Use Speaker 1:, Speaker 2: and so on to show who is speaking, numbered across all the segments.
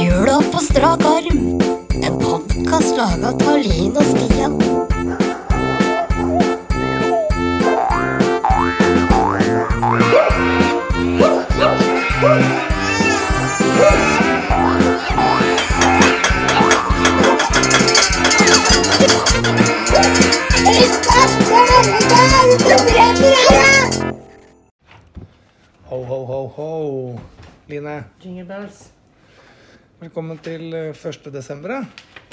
Speaker 1: Jula på strak arm. En podkast laga av Linn og Stian.
Speaker 2: Ho, ho, ho, ho. Line,
Speaker 3: Jingle bells.
Speaker 2: velkommen til eh, 1. desember. ja.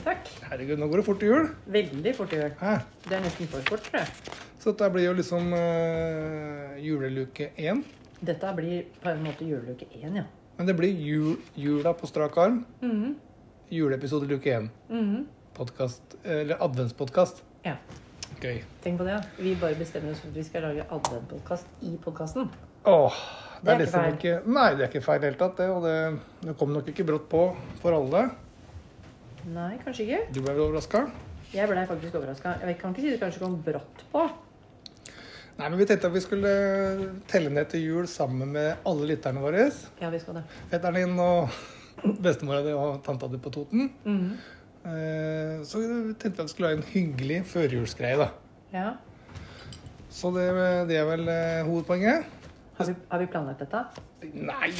Speaker 3: Takk.
Speaker 2: Herregud, nå går det fort til jul.
Speaker 3: Veldig fort i år.
Speaker 2: Hæ?
Speaker 3: Det er nesten for fort, tror jeg.
Speaker 2: Så dette blir jo liksom eh, juleluke én.
Speaker 3: Dette blir på en måte juleluke én, ja.
Speaker 2: Men det blir jul, jula på strak arm.
Speaker 3: Mhm.
Speaker 2: Juleepisode luke én.
Speaker 3: Mhm.
Speaker 2: Podcast, eller adventspodkast.
Speaker 3: Ja.
Speaker 2: Gøy.
Speaker 3: Tenk på det, ja. Vi bare bestemmer oss for at vi skal lage adventpodkast i podkasten.
Speaker 2: Åh, det,
Speaker 3: Det
Speaker 2: er
Speaker 3: er ikke
Speaker 2: liksom
Speaker 3: feil.
Speaker 2: ikke Nei, det er ikke feil i det hele tatt, det. Og det, det kom nok ikke brått på for alle.
Speaker 3: Nei, kanskje ikke.
Speaker 2: Du ble vel overraska?
Speaker 3: Jeg blei faktisk overraska. Jeg kan ikke si det kanskje kom brått på.
Speaker 2: Nei, men vi tenkte at vi skulle eh, telle ned til jul sammen med alle lytterne våre.
Speaker 3: Ja, vi skal det.
Speaker 2: Fetteren din og bestemora di og tanta di på Toten.
Speaker 3: Mhm.
Speaker 2: Eh, Så vi tenkte at vi skulle ha en hyggelig førjulsgreie, da.
Speaker 3: Ja.
Speaker 2: Så det, det er vel eh, hovedpoenget.
Speaker 3: Har vi, har vi planlagt dette?
Speaker 2: Nei,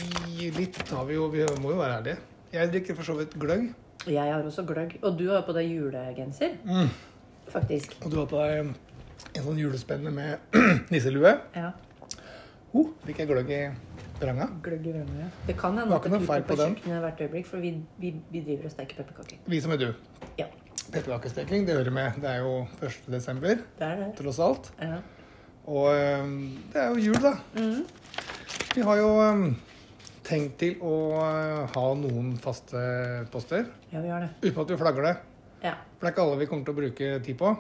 Speaker 2: litt har vi jo. Vi må jo være ærlige. Jeg drikker for så vidt gløgg.
Speaker 3: Jeg har også gløgg. Og du har jo på deg julegenser.
Speaker 2: Mm.
Speaker 3: Faktisk.
Speaker 2: Og du har på deg en sånn julespenne med nisselue.
Speaker 3: Ja.
Speaker 2: Oh, fikk jeg gløgg i vranga.
Speaker 3: Gløgg i rømmen, ja. Det kan hende
Speaker 2: Var
Speaker 3: at
Speaker 2: ikke
Speaker 3: det
Speaker 2: noe feil
Speaker 3: piper på
Speaker 2: på den.
Speaker 3: kjøkkenet hvert øyeblikk, for vi, vi, vi driver og steker pepperkaker.
Speaker 2: Vi som er du.
Speaker 3: Ja.
Speaker 2: Pepperkakesteking, det hører med. Det er jo 1. desember,
Speaker 3: Det er det.
Speaker 2: tross alt.
Speaker 3: Ja.
Speaker 2: Og eh, det er jo jul, da.
Speaker 3: Mhm.
Speaker 2: Vi har jo eh, tenkt til å eh, ha noen faste poster,
Speaker 3: Ja, vi har det.
Speaker 2: uten at vi flagger det.
Speaker 3: Ja.
Speaker 2: For det er ikke alle vi kommer til å bruke tid på.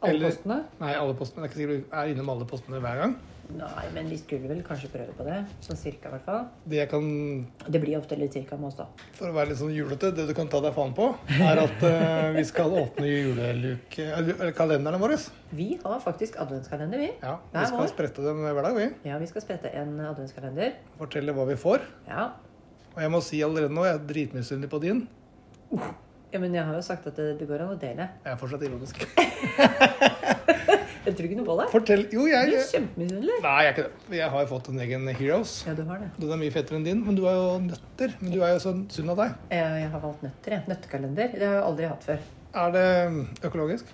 Speaker 3: Alle
Speaker 2: Eller-
Speaker 3: postene?
Speaker 2: Nei, alle postene. Det er ikke sikkert vi er innom alle postene hver gang.
Speaker 3: Nei, men vi skulle vel kanskje prøve på det. Sånn cirka, i hvert fall.
Speaker 2: Det jeg kan,
Speaker 3: Det blir ofte litt cirka med oss, da.
Speaker 2: for å være litt sånn julete, det du kan ta deg faen på, er at eh, vi skal åpne juleluke... Eller eller kalenderne våre.
Speaker 3: Vi har faktisk adventskalender, vi.
Speaker 2: Ja,
Speaker 3: Hver
Speaker 2: vi skal
Speaker 3: vår.
Speaker 2: sprette dem hver dag, vi.
Speaker 3: Ja, vi skal sprette en adventskalender.
Speaker 2: Fortelle hva vi får.
Speaker 3: Ja.
Speaker 2: Og jeg må si allerede nå, jeg er dritmisunnelig på din.
Speaker 3: ja. Men jeg har jo sagt at det, det går an å dele.
Speaker 2: Jeg er fortsatt ironisk.
Speaker 3: Jeg tror ikke noe på det.
Speaker 2: Fortell Jo,
Speaker 3: Du
Speaker 2: jeg
Speaker 3: er kjempemisunnelig.
Speaker 2: Nei, jeg er ikke det. Jeg har jo fått en egen Heroes.
Speaker 3: Ja, du har det.
Speaker 2: Den er mye fetere enn din, men du har jo nøtter. Men du er jo så sunn av deg.
Speaker 3: Jeg, jeg har valgt nøtter, jeg. Nøttekalender. Det har jeg aldri hatt før.
Speaker 2: Er det um, økologisk?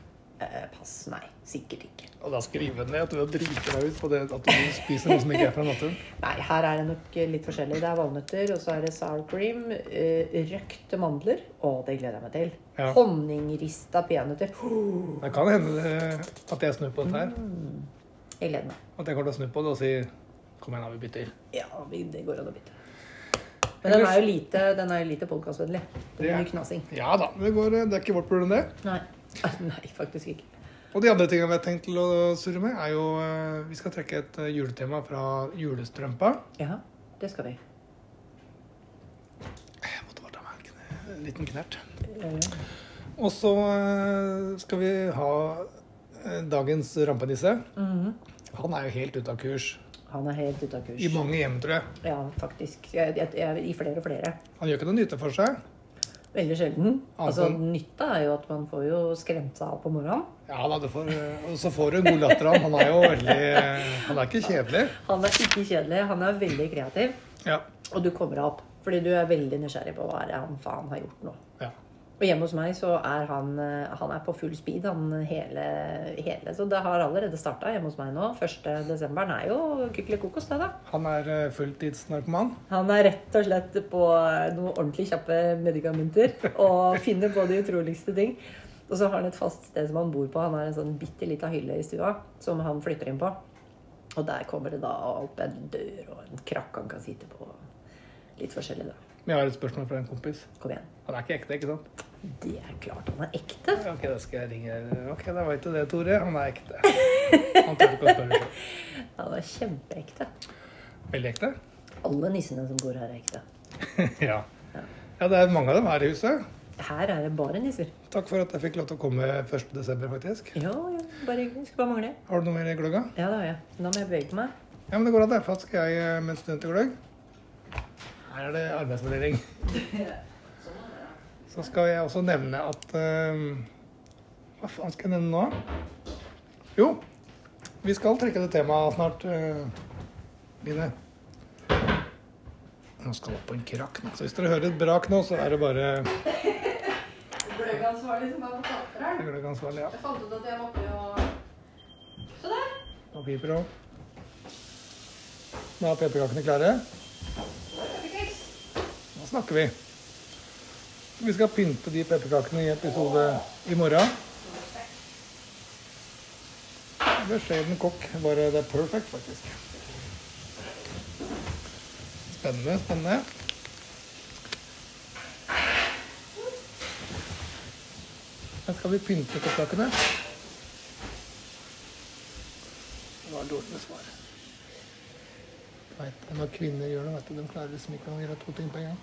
Speaker 3: Eh, pass. Nei, sikkert ikke.
Speaker 2: Og da skriver jeg ned at du har driti deg ut på det at du spiser noe som ikke er fra naturen.
Speaker 3: Nei, her er det nok litt forskjellig. Det er valnøtter, og så er det sour cream, eh, røkte mandler. Å, det gleder jeg meg til.
Speaker 2: Ja.
Speaker 3: Honningrista peanøtter. Åh,
Speaker 2: Det kan hende eh, at jeg snur på dette her.
Speaker 3: Jeg gleder meg.
Speaker 2: At jeg kommer til å snu på det og si Kom igjen, da, vi bytter.
Speaker 3: Ja, vi- det går an å bytte. Men den er jo lite, den er jo lite podkastvennlig. Det
Speaker 2: Det
Speaker 3: blir
Speaker 2: er-
Speaker 3: mye knasing.
Speaker 2: Ja da. Det, går, eh, det er ikke vårt problem, det.
Speaker 3: Nei. Nei, faktisk ikke.
Speaker 2: Og de andre tingene vi har tenkt til å surre med, er jo eh, Vi skal trekke et eh, juletema fra julestrømpa.
Speaker 3: Ja, det skal vi.
Speaker 2: Jeg måtte bare ta meg en kne- en liten knert.
Speaker 3: Eh,
Speaker 2: Og så eh, skal vi ha eh, dagens rampenisse.
Speaker 3: mhm.
Speaker 2: Han er jo helt ute av kurs.
Speaker 3: Han er helt ute av kurs.
Speaker 2: I mange hjem, tror jeg.
Speaker 3: Ja, faktisk. Jeg, jeg, jeg, I flere og flere.
Speaker 2: Han gjør ikke noe nytte for seg.
Speaker 3: Veldig sjelden. Altså,
Speaker 2: Anton.
Speaker 3: nytta er jo at man får jo skremt seg av på morgenen.
Speaker 2: Ja da, du får, eh, Og så får du en god latter av ham. Han er jo veldig eh, Han er ikke kjedelig.
Speaker 3: Han er ikke kjedelig, han er veldig kreativ.
Speaker 2: Ja.
Speaker 3: Og du kommer deg opp. Fordi du er veldig nysgjerrig på hva er det han faen har gjort nå.
Speaker 2: ja.
Speaker 3: Og hjemme hos meg så er han, eh, han er på full speed, han hele, hele. Så det har allerede starta hjemme hos meg nå. 1. desemberen er jo kykelikokos, det, da.
Speaker 2: Han er eh, fulltidsnarkoman.
Speaker 3: Han er rett og slett på eh, noen ordentlig kjappe medikamenter og finner på de utroligste ting. Og så har han et fast sted som han bor på. Han har en sånn bitte lita hylle i stua som han flytter inn på. Og der kommer det da opp en dør og en krakk han kan sitte på. Litt forskjellig, da.
Speaker 2: Men jeg har et spørsmål fra en kompis.
Speaker 3: Kom igjen.
Speaker 2: Han er ikke ekte, ikke sant?
Speaker 3: Det er klart han er ekte.
Speaker 2: Ja, Ok, da skal jeg ringe Ok, da veit du det, Tore. Han er ekte. Han tør ikke å spørre selv.
Speaker 3: Han er kjempeekte.
Speaker 2: Veldig ekte?
Speaker 3: Alle nissene som bor her, er ekte.
Speaker 2: Ja. Ja, det er mange av dem her i huset.
Speaker 3: Her er det bare nisser.
Speaker 2: Takk for at jeg fikk lov til å komme 1. desember, faktisk.
Speaker 3: Ja, ja, bare hyggelig. Skulle bare mangle.
Speaker 2: Har du noe mer i gløgga?
Speaker 3: Ja, det har jeg. Nå må jeg bevege meg.
Speaker 2: Ja, men det går an, det. For at skal jeg eh, med en student i gløgg. Her er det arbeidsfordeling. Så skal jeg også nevne at eh, Hva faen skal jeg nevne nå? Jo, vi skal trekke det temaet snart, eh, Line. Nå skal jeg opp på en krakk nå. Så hvis dere hører et brak nå, så er det bare
Speaker 4: Gløggansvarlig som er på tatteren.
Speaker 2: gløggansvarlig. Ja.
Speaker 4: Jeg fant ut at jeg måtte jo Se der!
Speaker 2: Og piper òg. Nå er pepperkakene klare. Nå snakker vi. Vi skal pynte de pepperkakene i episode i morgen. Beskjeden kokk. Bare det er perfect, faktisk. Spennende, spennende. Da skal vi pynte pepperkakene. Det var dårlig med svar. Vet, du, når kvinner gjør det, vet du, de klarer liksom ikke å gjøre to ting på en gang.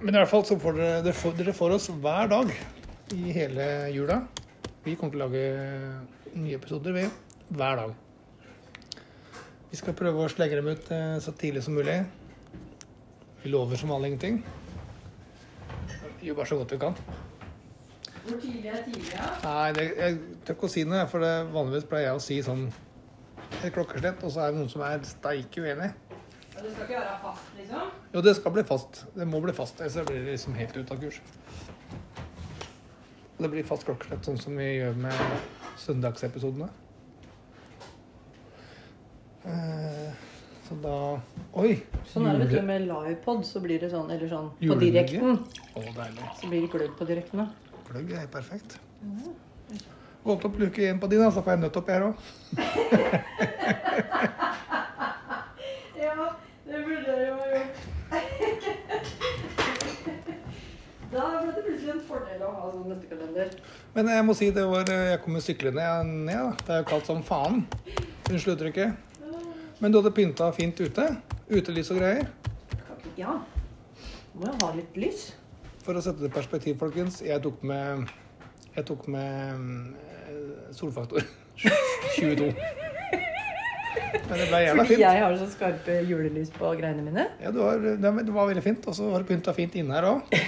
Speaker 2: Men i hvert fall så får dere, dere, får, dere får oss hver dag i hele jula. Vi kommer til å lage nye episoder vi, hver dag. Vi skal prøve å slegge dem ut eh, så tidlig som mulig. Vi lover som vanlig ingenting. Vi gjør bare så godt vi kan.
Speaker 4: Hvor tidlig er tidlig, ja?
Speaker 2: Nei, det, jeg tør ikke å si noe, for det, vanligvis pleier jeg å si sånn et klokkeslett, og så er det noen som er steike uenig.
Speaker 4: Ja, Du skal ikke være fast, liksom?
Speaker 2: Jo, det skal bli fast. Det må bli fast, ellers blir det liksom helt ut av kurs. Det blir fast klokkeslett, sånn som vi gjør med søndagsepisodene. Eh, Så da Oi!
Speaker 3: Sånn er det vet du,
Speaker 2: jule-
Speaker 3: med livepod, så blir det sånn, eller sånn på
Speaker 2: Julemugge?
Speaker 3: direkten.
Speaker 2: Å, deilig.
Speaker 3: Så blir det gløgg på direkten, da.
Speaker 2: Gløgg er helt perfekt. Gå opp og luke igjen på din, da, så får jeg nøtt oppi her òg.
Speaker 4: Ja, det burde jeg jo ha gjort. Da ble det plutselig en fordel å ha sånn nøttekalender.
Speaker 2: Men jeg må si det var eh, Jeg kommer syklende ned. da. Det er jo kaldt som faen. Unnskyld uttrykket. Men du hadde pynta fint ute. Utelys og greier.
Speaker 3: Ja. Må jo ha litt lys.
Speaker 2: For å sette det i perspektiv, folkens. Jeg tok med Jeg tok med eh, solfaktor 22. Men det ble jævla
Speaker 3: Fordi
Speaker 2: fint.
Speaker 3: jeg har så skarpe julelys på greiene mine.
Speaker 2: Ja, du har, det var- det var veldig fint. Og så har du pynta fint inne her òg.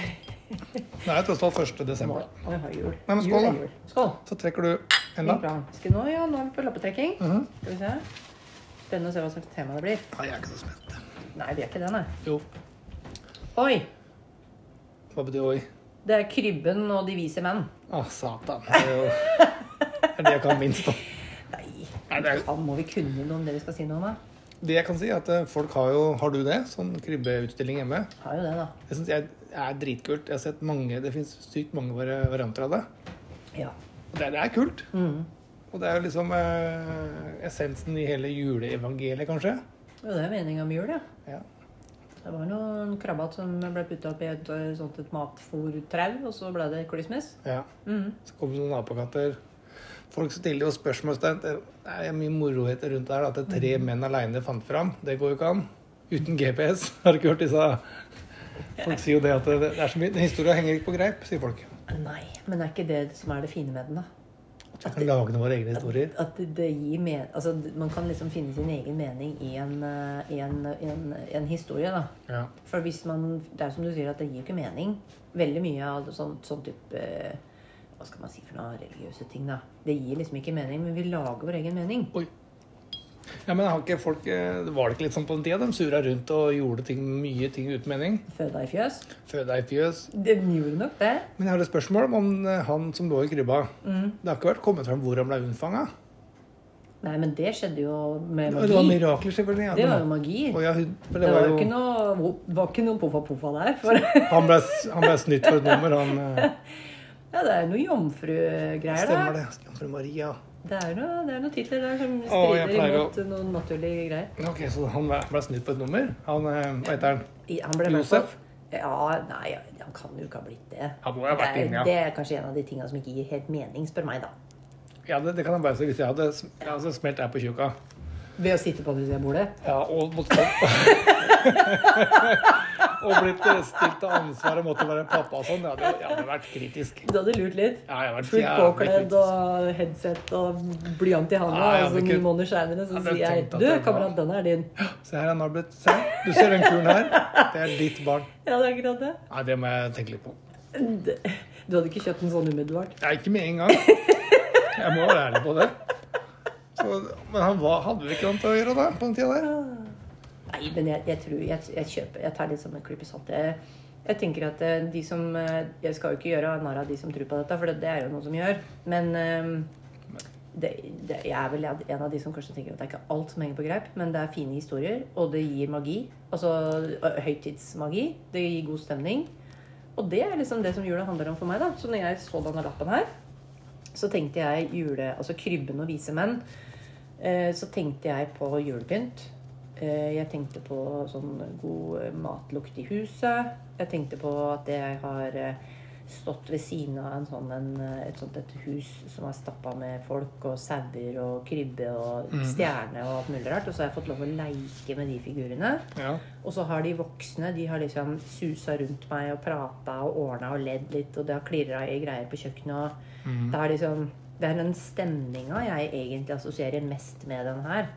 Speaker 2: Det er jo tross alt 1. desember.
Speaker 3: Og jeg har jul.
Speaker 2: Nei, men skål,
Speaker 3: Jul er
Speaker 2: da.
Speaker 3: jul. Skål.
Speaker 2: Så trekker du en
Speaker 3: Fint
Speaker 2: lapp.
Speaker 3: bra. Skal nå, ja, nå er vi på lappetrekking.
Speaker 2: Mhm.
Speaker 3: Skal vi se. Spennende å se hva slags tema det blir.
Speaker 2: Nei, jeg er ikke så spent.
Speaker 3: Nei, vi er ikke det, nei.
Speaker 2: Jo.
Speaker 3: Oi!
Speaker 2: Hva betyr oi?
Speaker 3: Det er krybben og de vise menn.
Speaker 2: Å, satan. Det er jo det, er det jeg kan minst om.
Speaker 3: Nei,
Speaker 2: Nei, det, er,
Speaker 3: faen, må vi kunne noe om det vi skal si nå, da?
Speaker 2: det jeg kan si, er at eh, folk har jo Har du det? Sånn krybbeutstilling hjemme.
Speaker 3: Har jo det, da.
Speaker 2: Det syns jeg er dritkult. Jeg har sett mange, Det fins sykt mange vari- varianter av det.
Speaker 3: Ja.
Speaker 2: Og det, det er kult. Og det er jo liksom eh, essensen i hele juleevangeliet, kanskje.
Speaker 3: Jo, det er meninga med jul, ja.
Speaker 2: Ja.
Speaker 3: Det var noen krabbat som ble putta opp i et eh, sånt et matfôrtrau, og så ble det Christmas.
Speaker 2: ja. Så kommer det noen nabokatter. Folk stiller jo spørsmålstegn. Det er mye moroheter rundt det her. da, At det tre
Speaker 3: Mm.
Speaker 2: menn aleine fant fram. Det går jo ikke an. Uten GPS. Har du ikke hørt disse Folk sier jo det at det det er så mye Historia henger ikke på greip, sier folk.
Speaker 3: Nei, men er ikke det som er det fine med den, da?
Speaker 2: Vi kan lage våre egne historier.
Speaker 3: At det, det gir men... Altså, man kan liksom finne sin egen mening i en, eh, i en, i en, i en historie, da.
Speaker 2: Ja.
Speaker 3: For hvis man Det er som du sier, at det gir ikke mening. Veldig mye av det sånn, sånn type eh, Hva skal man si for noe religiøse ting, da? Det gir liksom ikke mening, men vi lager vår egen mening.
Speaker 2: Oi. Ja, men har ikke folk, eh, Var det ikke litt sånn på den tida? De surra rundt og gjorde ting, mye ting uten mening.
Speaker 3: Føda i fjøs.
Speaker 2: Føda i fjøs.
Speaker 3: Det gjorde nok det.
Speaker 2: Men jeg har et spørsmål om eh, han som lå i krybba.
Speaker 3: Mm.
Speaker 2: Det har ikke vært kommet fram hvor han ble unnfanga?
Speaker 3: Nei, men det skjedde jo med
Speaker 2: Det var
Speaker 3: magi.
Speaker 2: mirakler, selvfølgelig. ja,
Speaker 3: Det
Speaker 2: men-
Speaker 3: var jo magi.
Speaker 2: Å ja, hun, for
Speaker 3: Det var jo ikke noe, var ikke noe poffa-poffa der. For,
Speaker 2: han, ble, han ble snytt for et nummer, han eh,
Speaker 3: ja, det er jo noe jomfrugreier
Speaker 2: Stemmer
Speaker 3: der.
Speaker 2: det. Jomfru Maria.
Speaker 3: Det er jo noe, det er noen titler der som
Speaker 2: Å, jeg
Speaker 3: strider
Speaker 2: pleier å-
Speaker 3: imot noen naturlige greier.
Speaker 2: Ok, Så han ble, ble snytt på et nummer? Han, eh, Hva heter han?
Speaker 3: I- Han ble i hvert fall-
Speaker 2: Josef?
Speaker 3: Ja, nei, han kan jo ikke ha blitt det.
Speaker 2: Han må ha vært
Speaker 3: det, er,
Speaker 2: inni, ja.
Speaker 3: det er kanskje en av de tingene som ikke gir helt mening, spør meg, da.
Speaker 2: Ja, det, det kan han bare si hvis jeg hadde sm- jeg hadde smelt deg på tjukka.
Speaker 3: Ved å sitte på det bordet.
Speaker 2: Ja, og måtte få og blitt eh, stilt til ansvar og måtte være pappa og sånn, ja, det, jeg hadde vært kritisk.
Speaker 3: Du hadde lurt litt.
Speaker 2: Ja, jeg hadde vært
Speaker 3: Fullt
Speaker 2: jævlig
Speaker 3: påkledd
Speaker 2: kritisk.
Speaker 3: og headset og blyant i handa.
Speaker 2: Nei, jeg
Speaker 3: og så
Speaker 2: hadde
Speaker 3: ni
Speaker 2: ikke-
Speaker 3: måneder seinere så
Speaker 2: Jeg hadde
Speaker 3: sier jeg
Speaker 2: tenkt at
Speaker 3: Du,
Speaker 2: det var-
Speaker 3: kamerat, den er din.
Speaker 2: Se her, han har blitt se, Du ser den kuren her? Det er ditt barn.
Speaker 3: Ja, det er akkurat det.
Speaker 2: Nei, det må jeg tenke litt på.
Speaker 3: Det- Du hadde ikke kjøpt den sånn umiddelbart?
Speaker 2: Nei, ikke med en gang. Jeg må være ærlig på det. Så, men han var, hadde vel ikke annet å gjøre da, på den tida der?
Speaker 3: Nei, men jeg, jeg tror jeg, jeg kjøper Jeg tar litt som en klype salt. Jeg, jeg tenker at eh, de som eh, Jeg skal jo ikke gjøre narr av de som tror på dette, for det, det er jo noen som gjør. Men eh, det, det, jeg er vel en av de som kanskje tenker at det er ikke alt som henger på greip, men det er fine historier, og det gir magi. Altså eh, høytidsmagi. Det gir god stemning. Og det er liksom det som jula handler om for meg, da. Så når jeg så denne lappen her, så tenkte jeg jule... Altså krybben og vise menn. Eh, Så tenkte jeg på julepynt. Eh, Jeg tenkte på sånn god eh, matlukt i huset. Jeg tenkte på at jeg har eh, stått ved siden av en sånn, en, eh, et sånt et hus som er stappa med folk og sauer og krybbe og stjerne og alt mulig rart. Og så har jeg fått lov å leike med de figurene.
Speaker 2: Ja.
Speaker 3: Og så har de voksne de har liksom susa rundt meg og prata og ordna og ledd litt, og det har klirra i greier på kjøkkenet. Og
Speaker 2: Mhm.
Speaker 3: Det er liksom Det er den stemninga jeg egentlig assosierer mest med den her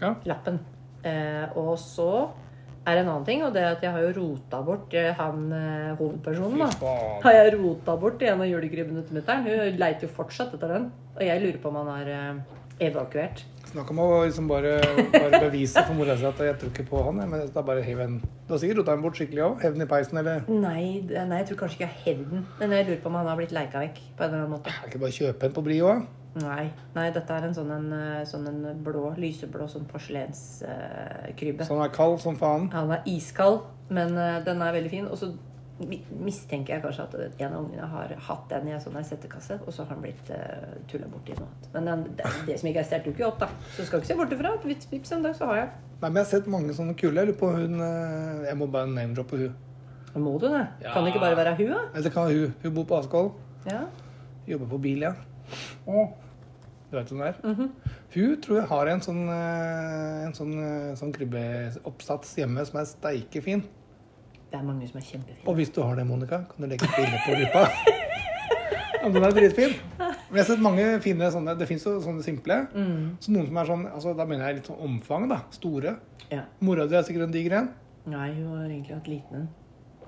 Speaker 2: ja.
Speaker 3: lappen. Eh, og så er det en annen ting, og det er at jeg har jo rota bort eh, han eh, hovedpersonen, da.
Speaker 2: Fy faen.
Speaker 3: Har jeg rota bort i en av julekrybbene til mutter'n? Hun leiter jo fortsatt etter den. Og jeg lurer på om han har eh, evakuert.
Speaker 2: Snakk om å liksom bare, bare bevise for mora si at jeg tror ikke på han. jeg, Men da bare hev en Du har sikkert rota den bort skikkelig òg? Hev den i peisen, eller?
Speaker 3: Nei, det- nei, jeg tror kanskje ikke jeg har hevden. Men jeg lurer på om han har blitt leika vekk på en eller annen måte.
Speaker 2: Er det ikke bare å kjøpe en på Brio? da?
Speaker 3: Nei, nei dette er en sånn en, eh, sånn en blå, lyseblå sånn porselenskrybbe.
Speaker 2: Så han Sånn er kald som faen?
Speaker 3: Han er iskald, men eh, den er veldig fin. Og så mi- mistenker jeg kanskje at en av ungene har hatt den i en sånn her settekasse, og så har han blitt uh, tulla borti noe annet. Men den, det, det som ikke er stjålet, dukker jo opp, da. Så du skal ikke se bort ifra at vips, vips, en dag så har jeg den.
Speaker 2: Nei, men jeg har sett mange sånne kule. Jeg lurer på hun eh, Jeg må bare name-droppe hun.
Speaker 3: Må du det?
Speaker 2: Ja.
Speaker 3: Kan det ikke bare være hun, da?
Speaker 2: Eller kan hun Hun bor på Askvoll.
Speaker 3: Ja.
Speaker 2: Jobber på bil, ja. Du vet hvem det er?
Speaker 3: Mhm.
Speaker 2: Hun tror jeg har en sånn, eh, en sånn, eh, sånn krybbeoppsats hjemme som er steike fin.
Speaker 3: Det er mange som er kjempefine.
Speaker 2: Og hvis du har det, Monica, kan du legge et bilde på gruppa. Ja, men den er dritfin. Men jeg har sett mange fine sånne. Det fins jo sånne simple.
Speaker 3: Mm.
Speaker 2: Så noen som er sånn altså, Da mener jeg litt sånn omfang, da. Store.
Speaker 3: Ja.
Speaker 2: Mora di er sikkert en diger en.
Speaker 3: Nei, hun har egentlig hatt liten en.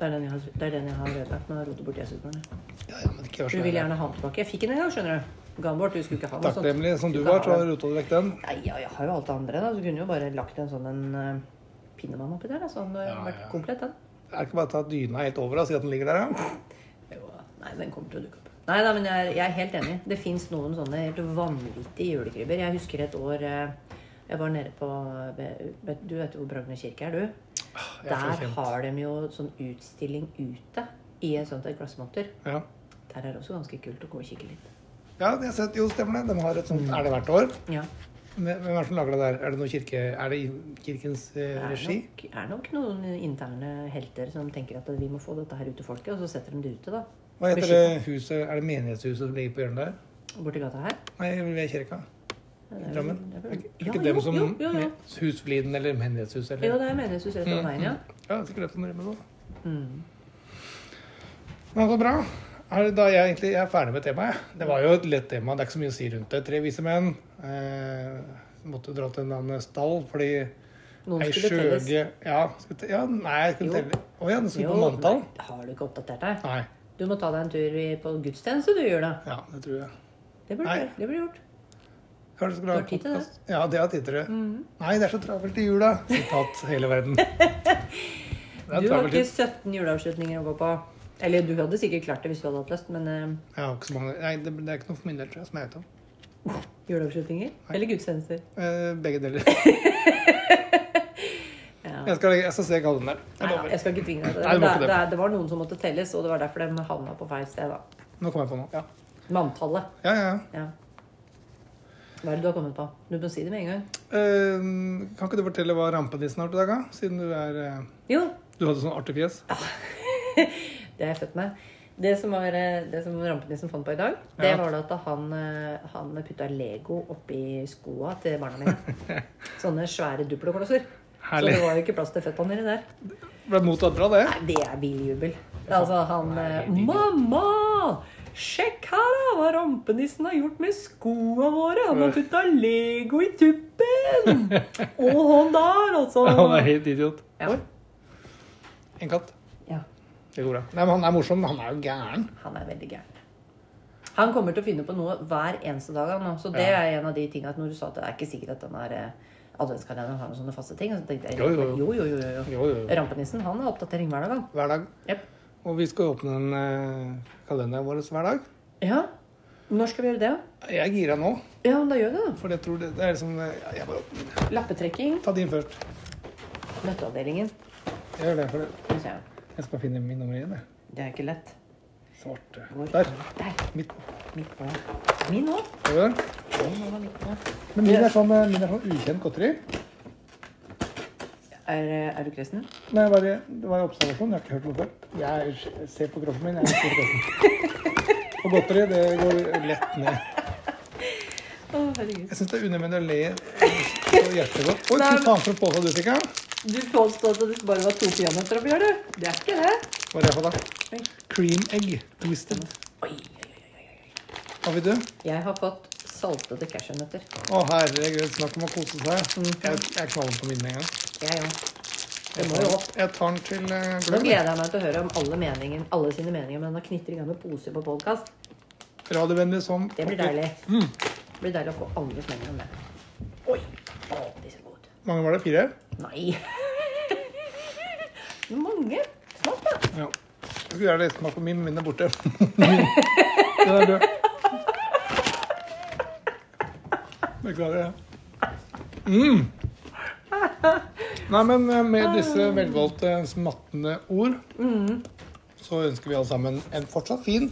Speaker 3: Det er den jeg har, det er den jeg har ødelagt med å rote bort Jesusbarnet.
Speaker 2: Ja, ja, men ikke vær
Speaker 3: Du
Speaker 2: så
Speaker 3: vil
Speaker 2: ærlig.
Speaker 3: gjerne ha den tilbake. Jeg fikk den en gang, skjønner du. Ga den bort. Du skulle ikke ha noe sånt.
Speaker 2: Takknemlig som du
Speaker 3: Skulle
Speaker 2: var,
Speaker 3: ikke
Speaker 2: så
Speaker 3: ha den.
Speaker 2: rota du vekk den.
Speaker 3: Nei, ja, jeg har jo alt det andre, da. Så kunne du jo bare lagt en sånn en eh, pinnemann oppi der. da. Så hadde den
Speaker 2: Ja,
Speaker 3: vært
Speaker 2: ja.
Speaker 3: komplett, den.
Speaker 2: Er det ikke bare å ta dyna helt over og si at den ligger der, ja?
Speaker 3: Jo, nei, den kommer til å dukke opp. Nei da, men jeg er, jeg er helt enig. Det fins noen sånne helt vanvittige julekrybber. Jeg husker et år eh, jeg var nede på ved- ved- Du vet jo hvor Bragne kirke er, du?
Speaker 2: Ah, jeg er så
Speaker 3: Der
Speaker 2: kjent.
Speaker 3: har de jo sånn utstilling ute i en sånt et glassmonter.
Speaker 2: ja?
Speaker 3: Der er det også ganske kult å gå og kikke litt.
Speaker 2: Ja, jeg har sett, jo, stemmer det. De har et sånt
Speaker 3: Mm.
Speaker 2: Er det hvert år?
Speaker 3: Ja.
Speaker 2: Hvem hvem er det som lager det der? Er det noe kirke... Er det i kirkens eh,
Speaker 3: Det er
Speaker 2: regi?
Speaker 3: nok, er nok noen interne helter som tenker at vi må få dette her ut til folket, og så setter de det ute, da.
Speaker 2: Hva heter det huset? Er det menighetshuset som ligger på hjørnet der?
Speaker 3: Borti gata her.
Speaker 2: Nei, ved kirka.
Speaker 3: Det
Speaker 2: I
Speaker 3: er
Speaker 2: Drammen.
Speaker 3: vel- det er
Speaker 2: Er
Speaker 3: vel-
Speaker 2: ikke- er ikke
Speaker 3: Ja,
Speaker 2: dem
Speaker 3: jo,
Speaker 2: som Mm.
Speaker 3: Jo, jo, jo.
Speaker 2: Husfliden eller Menighetshuset
Speaker 3: jo
Speaker 2: eller
Speaker 3: det er menighetshuset rett over veien, ja.
Speaker 2: Ja, sikkert det som rømmer nå.
Speaker 3: Mm.
Speaker 2: Men så bra. Er det da jeg egentlig jeg er ferdig med temaet. jeg. Det var jo et lett tema. Det er ikke så mye å si rundt det. Tre vise menn. Eh, måtte dra til en annen stall fordi
Speaker 3: Noen
Speaker 2: ei
Speaker 3: skulle telles.
Speaker 2: skjøge Ja, skulle te- ja, nei, jeg skulle
Speaker 3: Jo.
Speaker 2: telle Å ja, du skulle på
Speaker 3: Jo,
Speaker 2: manntall?
Speaker 3: nei, har du ikke oppdatert deg?
Speaker 2: Nei.
Speaker 3: Du må ta deg en tur i- på gudstjeneste, du, Jula.
Speaker 2: Ja, det tror jeg.
Speaker 3: Det blir,
Speaker 2: Nei.
Speaker 3: gjort. det blir gjort.
Speaker 2: Kanskje skulle ha
Speaker 3: Du har tid til det. Mm.
Speaker 2: podcast? Ja, det har jeg tid til det. Nei, det er så travelt i jula. Sitat hele verden. Det er
Speaker 3: Du har
Speaker 2: travelt i
Speaker 3: ikke 17 juleavslutninger å gå på. Eller du hadde sikkert klart det hvis du hadde hatt lyst, men eh,
Speaker 2: Jeg har ikke så mange Nei, det, det er ikke noe for min del, tror jeg, som jeg vet om.
Speaker 3: juleavslutninger? Eller gudstjenester?
Speaker 2: Eh, begge deler. jeg, skal, jeg skal se kalenderen. Jeg
Speaker 3: Nei, da,
Speaker 2: lover.
Speaker 3: jeg skal ikke tvinge deg til
Speaker 2: Nei,
Speaker 3: det.
Speaker 2: du må ikke
Speaker 3: Det, det,
Speaker 2: det.
Speaker 3: det var noen som måtte telles, og det var derfor de havna på feil sted. da.
Speaker 2: Nå kom jeg på noe. Ja,
Speaker 3: Manntallet.
Speaker 2: ja. ja. ja.
Speaker 3: Ja. Hva er det du har kommet på? Du må si det med en gang.
Speaker 2: Eh, kan ikke du fortelle hva rampenissen har til dag, da? Siden du er eh,
Speaker 3: Jo,
Speaker 2: Du hadde sånn artig fjes.
Speaker 3: det er jeg født med. Det som, var, eh, det som rampenissen fant på i dag, det
Speaker 2: Ja.
Speaker 3: var da at han, eh, han putta Lego oppi skoa til barna mine. Sånne svære duploklosser. Så
Speaker 2: Herlig.
Speaker 3: det var jo ikke plass til føtta nedi der.
Speaker 2: Ble mottatt bra, det.
Speaker 3: Nei, det er biljubel. Altså, han
Speaker 5: Nei, det er
Speaker 3: eh,
Speaker 5: biljubel.
Speaker 3: Mamma! Sjekk her, da! Hva rampenissen har gjort med skoa våre! Han
Speaker 2: Øh.
Speaker 3: har putta Lego i tuppen! Og han der, altså!
Speaker 2: Han er helt idiot.
Speaker 3: Ja.
Speaker 2: En katt.
Speaker 3: ja.
Speaker 2: Det går bra. Nei, men han er morsom. Han er jo gæren.
Speaker 3: Han er veldig gæren. Han kommer til å finne på noe hver eneste dag. han, nå. Så det
Speaker 2: Ja.
Speaker 3: er en av de tingene at når du sa at det er ikke sikkert at den her eh, adventskalenderen har noen sånne faste ting. og Så tenkte jeg,
Speaker 2: Jo, jo,
Speaker 3: jo, jo, jo,
Speaker 2: Jo,
Speaker 3: jo.
Speaker 2: jo, jo.
Speaker 3: Rampenissen han har oppdatering hver dag, han.
Speaker 2: Hver dag.
Speaker 3: Jep.
Speaker 2: Og vi skal åpne en eh, kalenderen vår hver dag.
Speaker 3: Ja. Når skal vi gjøre det? da?
Speaker 2: Jeg er gira nå,
Speaker 3: Ja, men da gjør vi det,
Speaker 2: for jeg tror det, det er liksom eh, ja, Jeg bare åpner.
Speaker 3: da. Lappetrekking.
Speaker 2: Ta din først.
Speaker 3: Nøtteavdelingen.
Speaker 2: Jeg gjør det, for det-
Speaker 3: Skal vi se.
Speaker 2: jeg skal finne min nummer én. jeg.
Speaker 3: Det er ikke lett.
Speaker 2: Svarte.
Speaker 3: Hvor-
Speaker 2: Der.
Speaker 3: Der.
Speaker 2: Midt på.
Speaker 3: Midt på. Min nå.
Speaker 2: Ser du den?
Speaker 3: Den var midt på.
Speaker 2: Men min er sånn, eh, min er sånn ukjent godteri.
Speaker 3: Er, eh, er du kristen?
Speaker 2: Nei, bare, det var en observasjon. Jeg har ikke hørt noe før. Jeg er- ser på kroppen min. Jeg er ikke kresen. Og godteri, det går lett ned.
Speaker 3: Å, herregud.
Speaker 2: Jeg syns det er unødvendig å le så hjertelig godt. Oi,
Speaker 3: Nei,
Speaker 2: fy
Speaker 3: men-
Speaker 2: faen for en pose av dusikka.
Speaker 3: Du påstod at det bare var to peanøtter oppi her, du. Det er ikke det.
Speaker 2: Hva er det for da?
Speaker 3: Oi.
Speaker 2: Cream egg twisted.
Speaker 3: Oi, oi, oi.
Speaker 2: Har vi det?
Speaker 3: Jeg har fått saltede cashewnøtter.
Speaker 2: Å herregud, snakk om å kose seg. Jeg, jeg knaller på min med en gang.
Speaker 3: Jeg òg. Det må
Speaker 2: Jeg
Speaker 3: jo
Speaker 2: tar,
Speaker 3: opp.
Speaker 2: jeg tar den til eh,
Speaker 3: Nå
Speaker 2: gløgg.
Speaker 3: gleder jeg meg til å høre om alle, meningen, alle sine meninger, men da knitter i gang med poser på podkast.
Speaker 2: Radiovennlig som
Speaker 3: Det blir
Speaker 2: pokker.
Speaker 3: deilig. Det blir deilig å få alles meninger om det. Mm. Oi! Å, de ser gode ut.
Speaker 2: Mange var det? Fire?
Speaker 3: Nei! Mange. Snart, da.
Speaker 2: Ja. Jeg skulle gjerne lest meg på min, min er borte. Den er død. Beklager det. Mm. Nei, men eh, med disse velvalgte smattende ord
Speaker 3: Mm.
Speaker 2: så ønsker vi alle sammen en fortsatt fin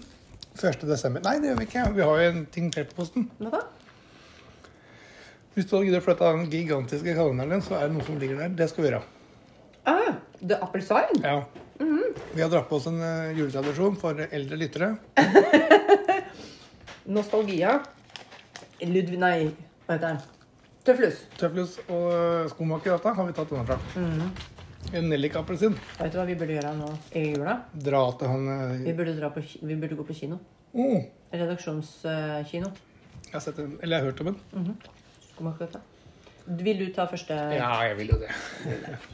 Speaker 2: 1. desember. Nei, det gjør vi ikke. Vi har jo en ting til på posten.
Speaker 3: Hva da?
Speaker 2: Hvis du hadde giddet å flytte den gigantiske kalenderen din, så er det noe som ligger der. Det skal vi gjøre.
Speaker 3: Ah, the Apple Sign?
Speaker 2: Ja. Vi har dratt på oss en eh, juletradisjon for eldre lyttere.
Speaker 3: Nostalgia. Ludvig Nei, hva heter den? Tøflus.
Speaker 2: Tøflus og skomakerjata har vi tatt unna fra. En nellikapelsin.
Speaker 3: Vet du hva vi burde gjøre nå i jula?
Speaker 2: Dra til han
Speaker 3: Vi
Speaker 2: eh,
Speaker 3: burde, dra på, ki- vi burde gå på kino.
Speaker 2: oh,
Speaker 3: Redaksjonskino.
Speaker 2: Jeg har sett den, eller jeg har hørt om den.
Speaker 3: Kom akkurat da. Vil du ta første
Speaker 2: Ja, jeg vil jo det.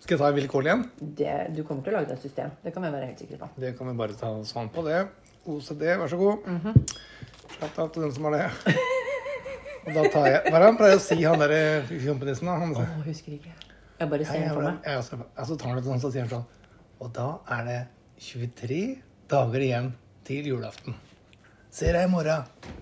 Speaker 2: Skal jeg ta en vilkårlig en?
Speaker 3: det, Du kommer til å lage deg et system. Det kan vi være helt sikre på.
Speaker 2: Det kan vi bare ta oss an på, Mhm. det. OCD, vær så god. Slapp av til den som har det. Og da tar jeg Hva er det han pleier å si, han derre kompisen? da? Han sier
Speaker 3: Å, husker ikke. Jeg bare ser
Speaker 2: Hei,
Speaker 3: den for
Speaker 2: hvordan-
Speaker 3: meg.
Speaker 2: Ja, altså, altså tar han det sånn, så sier han sånn Og da er det 23 dager igjen til julaften. Ser deg i morgen.